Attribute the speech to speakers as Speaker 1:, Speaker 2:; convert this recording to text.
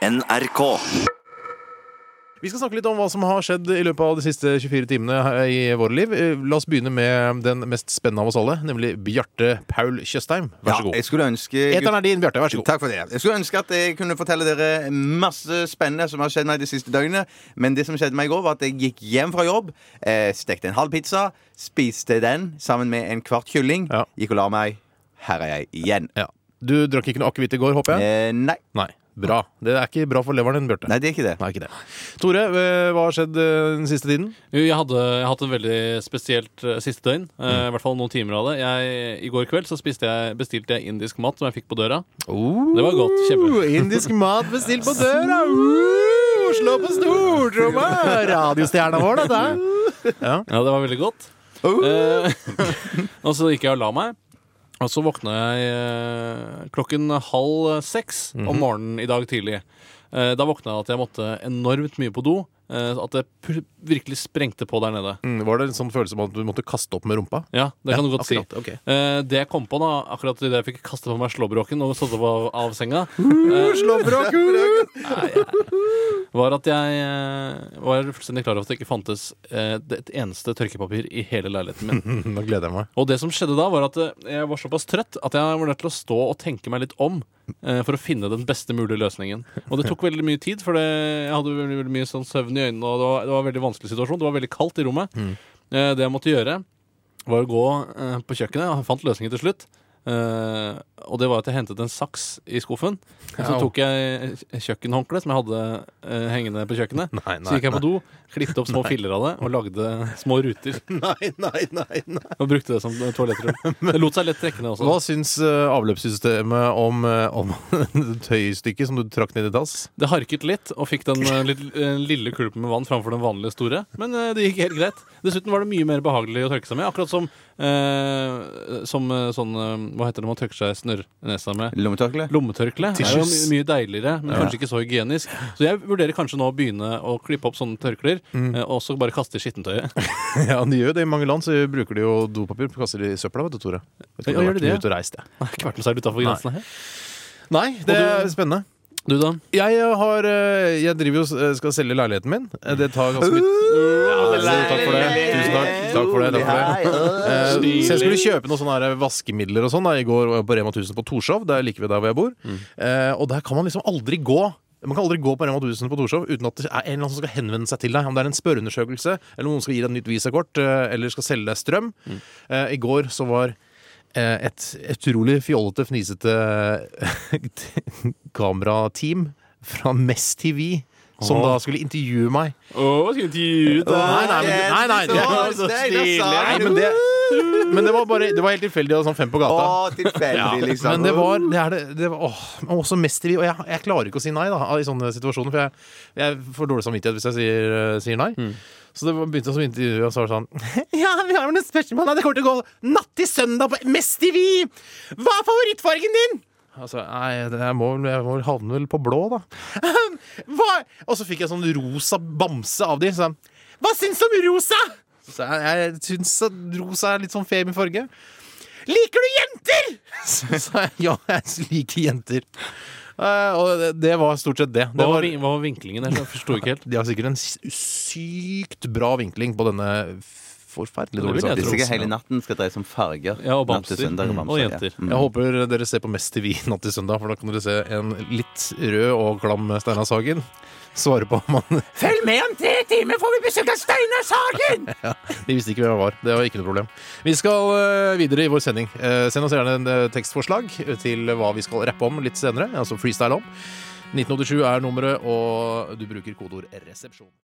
Speaker 1: NRK.
Speaker 2: Vi skal snakke litt om hva som har skjedd i løpet av de siste 24 timene her i våre liv. Eh, La oss begynne med den mest spennende av oss alle, nemlig Bjarte Paul Tjøstheim. Vær så
Speaker 3: Ja,
Speaker 2: god.
Speaker 3: jeg skulle ønske
Speaker 2: Eteren er din, Bjarte. Vær så god.
Speaker 3: Takk for det. Jeg skulle ønske at jeg kunne fortelle dere masse spennende som har skjedd meg de siste døgnene. Men det som skjedde meg i går, var at jeg gikk hjem fra jobb, eh, stekte en halv pizza, spiste den sammen med en kvart kylling,
Speaker 2: Ja.
Speaker 3: gikk og la meg. Her er jeg igjen.
Speaker 2: Ja. Du drakk ikke noe akevitt i går, håper jeg?
Speaker 3: Eh, nei.
Speaker 2: Nei. Bra. Det er ikke bra for leveren din, Bjarte.
Speaker 3: nei, det er ikke det.
Speaker 2: Nei, ikke det. Tore, eh, hva har skjedd eh, den siste tiden?
Speaker 4: Jo, jeg hadde, jeg hadde et veldig spesielt eh, siste døgn. eh, I hvert fall noen timer av det. Jeg, I går kveld så spiste jeg, bestilte jeg indisk mat som jeg fikk på døra. Det var godt. Kjempe.
Speaker 2: Oh, Indisk mat bestilt på døra! Uh, slå på stortromma! Radiostjerna vår, dette.
Speaker 4: Ja, det var veldig godt. Eh, og så gikk jeg og la meg. Og så våkna jeg eh, klokken halv seks om morgenen i dag tidlig. Eh, da våkna jeg at jeg måtte enormt mye på do. eh, at det pr- virkelig sprengte på der nede.
Speaker 2: Mm, var det en sånn følelse om at du måtte kaste opp med rumpa?
Speaker 4: Ja, det kan du godt si.
Speaker 2: akkurat, ok.
Speaker 4: Eh, det jeg kom på da, akkurat idet jeg fikk kastet på meg slåbroken og stått opp av, av senga, var at jeg eh, var fullstendig klar over at det ikke fantes eh, det- et eneste tørkepapir i hele leiligheten min.
Speaker 2: Mm, Nå gleder jeg meg.
Speaker 4: Og det som skjedde da, var at eh, jeg var såpass trøtt at jeg var nødt til å stå og tenke meg litt om eh, for å finne den beste mulige løsningen. Og det tok veldig mye tid, for det, jeg hadde veldig, veldig mye sånn søvn i øynene, og det var, det var en veldig vanskelig situasjon. Det var veldig kaldt i rommet. Eh, det jeg måtte gjøre, var å gå eh, på kjøkkenet, og jeg fant løsningen til slutt. Eh, og det var at jeg hentet en saks i skuffen. Og så
Speaker 2: Au.
Speaker 4: tok jeg kjøkkenhåndkleet som jeg hadde eh, hengende på kjøkkenet.
Speaker 2: Nei,
Speaker 4: så gikk jeg på do, klippet opp små filler av det og lagde små ruter.
Speaker 2: Nei, nei, nei, nei.
Speaker 4: Og brukte det som toalettrom. Det lot seg lett trekke ned
Speaker 2: Hva
Speaker 4: også.
Speaker 2: syns eh, avløpssystemet om, eh, om tøystykket som du trakk ned i dass?
Speaker 4: Det harket litt, og fikk den eh, litt- eh, lille kulpen med vann framfor den vanlige store. Men eh, det gikk helt greit. Dessuten var det mye mer behagelig å tørke seg med. Akkurat som, eh, som eh, sånn eh, Hva heter det man tørker seg i snørrnesa med?
Speaker 3: Lommetørkle?
Speaker 4: Lommetørkle er jo
Speaker 2: Tissues.
Speaker 4: my- mye deiligere, men kanskje ikke så hygienisk. Så jeg vurderer kanskje nå å begynne å klippe opp sånne tørklær,
Speaker 2: Mm.
Speaker 4: eh, og så bare kaste i skittentøyet.
Speaker 2: Ja, de gjør jo det I mange land så bruker de jo dopapir. Kaster de i søpla, vet du, Tore. Vet ikke om du har
Speaker 4: Ja, gjør
Speaker 2: vært
Speaker 4: de
Speaker 2: mye
Speaker 4: det?
Speaker 2: ute og reist, jeg.
Speaker 4: Nei, ikke vært noe særlig utenfor
Speaker 2: Nei.
Speaker 4: grensene her.
Speaker 2: Nei, det
Speaker 4: Og
Speaker 2: er
Speaker 4: du-
Speaker 2: spennende.
Speaker 4: Du, da?
Speaker 2: Jeg har eh, Jeg driver jo s- eh, skal selge leiligheten min. Eh, Det tar ganske mye Så Takk for det. Tusen takk. Takk for det. Takk for det. Eh, Så jeg skulle kjøpe noen sånne her vaskemidler og sånn da, i går og på Rema 1000 på Torshov. Det er like ved der hvor jeg bor. Eh, og der kan man liksom aldri gå. Man kan aldri gå på Rema 1000 på Torshov uten at det er en eller annen som skal henvende seg til deg. Om det er en spørreundersøkelse, eller noen skal gi deg et nytt visakort, eh, eller skal selge deg strøm. Eh, I går så var eh, et utrolig fjollete, fnisete kamerateam fra Mest TV som da skulle intervjue meg.
Speaker 4: Å, skal vi gi ut
Speaker 2: Nei, nei, men, nei, nei, det, nei men, det, men det var bare Det var helt tilfeldig og sånn fem på
Speaker 3: Å,
Speaker 2: gata.
Speaker 3: tilfeldig, liksom.
Speaker 2: Men det var, det er det, det var åh, men også mest i Og jeg, jeg klarer ikke å si nei da i sånne situasjoner, for jeg, jeg får dårlig samvittighet hvis jeg sier, eh, sier nei. Så det var- begynte som intervju, og så var det sånn Ja, vi har vel noen spørsmål. Nei, det kommer til å gå natt til søndag på Mest TV! Hva er favorittfargen din? Altså, nei, det, jeg, må, vel- jeg må vel havne vel på blå, da. Hva? Og så fikk jeg sånn rosa bamse av de. Så jeg, Hva syns du om rosa? Så sa jeg, jeg syns at rosa er litt sånn femi farge. Liker du jenter? Så sa jeg ja, jeg liker jenter. Eh, og det, det var stort sett det. det
Speaker 4: Hva var,
Speaker 2: var,
Speaker 4: vin- hva var vinklingen? Jeg forsto ikke helt.
Speaker 2: de har sikkert en s- sykt bra vinkling på denne f- forferdelig
Speaker 4: Det vil
Speaker 2: dårlige
Speaker 4: jeg
Speaker 2: saken.
Speaker 4: tro.
Speaker 3: Sikkert hele natten skal dreie seg om farger.
Speaker 4: Ja, og
Speaker 3: Natt til
Speaker 4: bamser.
Speaker 3: søndag,
Speaker 4: Mm, og
Speaker 3: bamser, ja.
Speaker 4: jenter.
Speaker 3: Mm.
Speaker 2: Jeg håper dere ser på Mest TV natt til søndag, for da kan dere se en litt rød og klam Steinar Sagen svare på om han
Speaker 5: Følg med om tre timer, får vi besøk av Steinar Sagen!
Speaker 2: Ja, De visste ikke hvem jeg var. Det var ikke noe problem. Vi skal eh, videre i vår sending. Eh, send oss gjerne en eh, tekstforslag til hva vi skal rappe om litt senere. Altså freestyle om. 1987 er nummeret, og du bruker kodeord 'resepsjon'.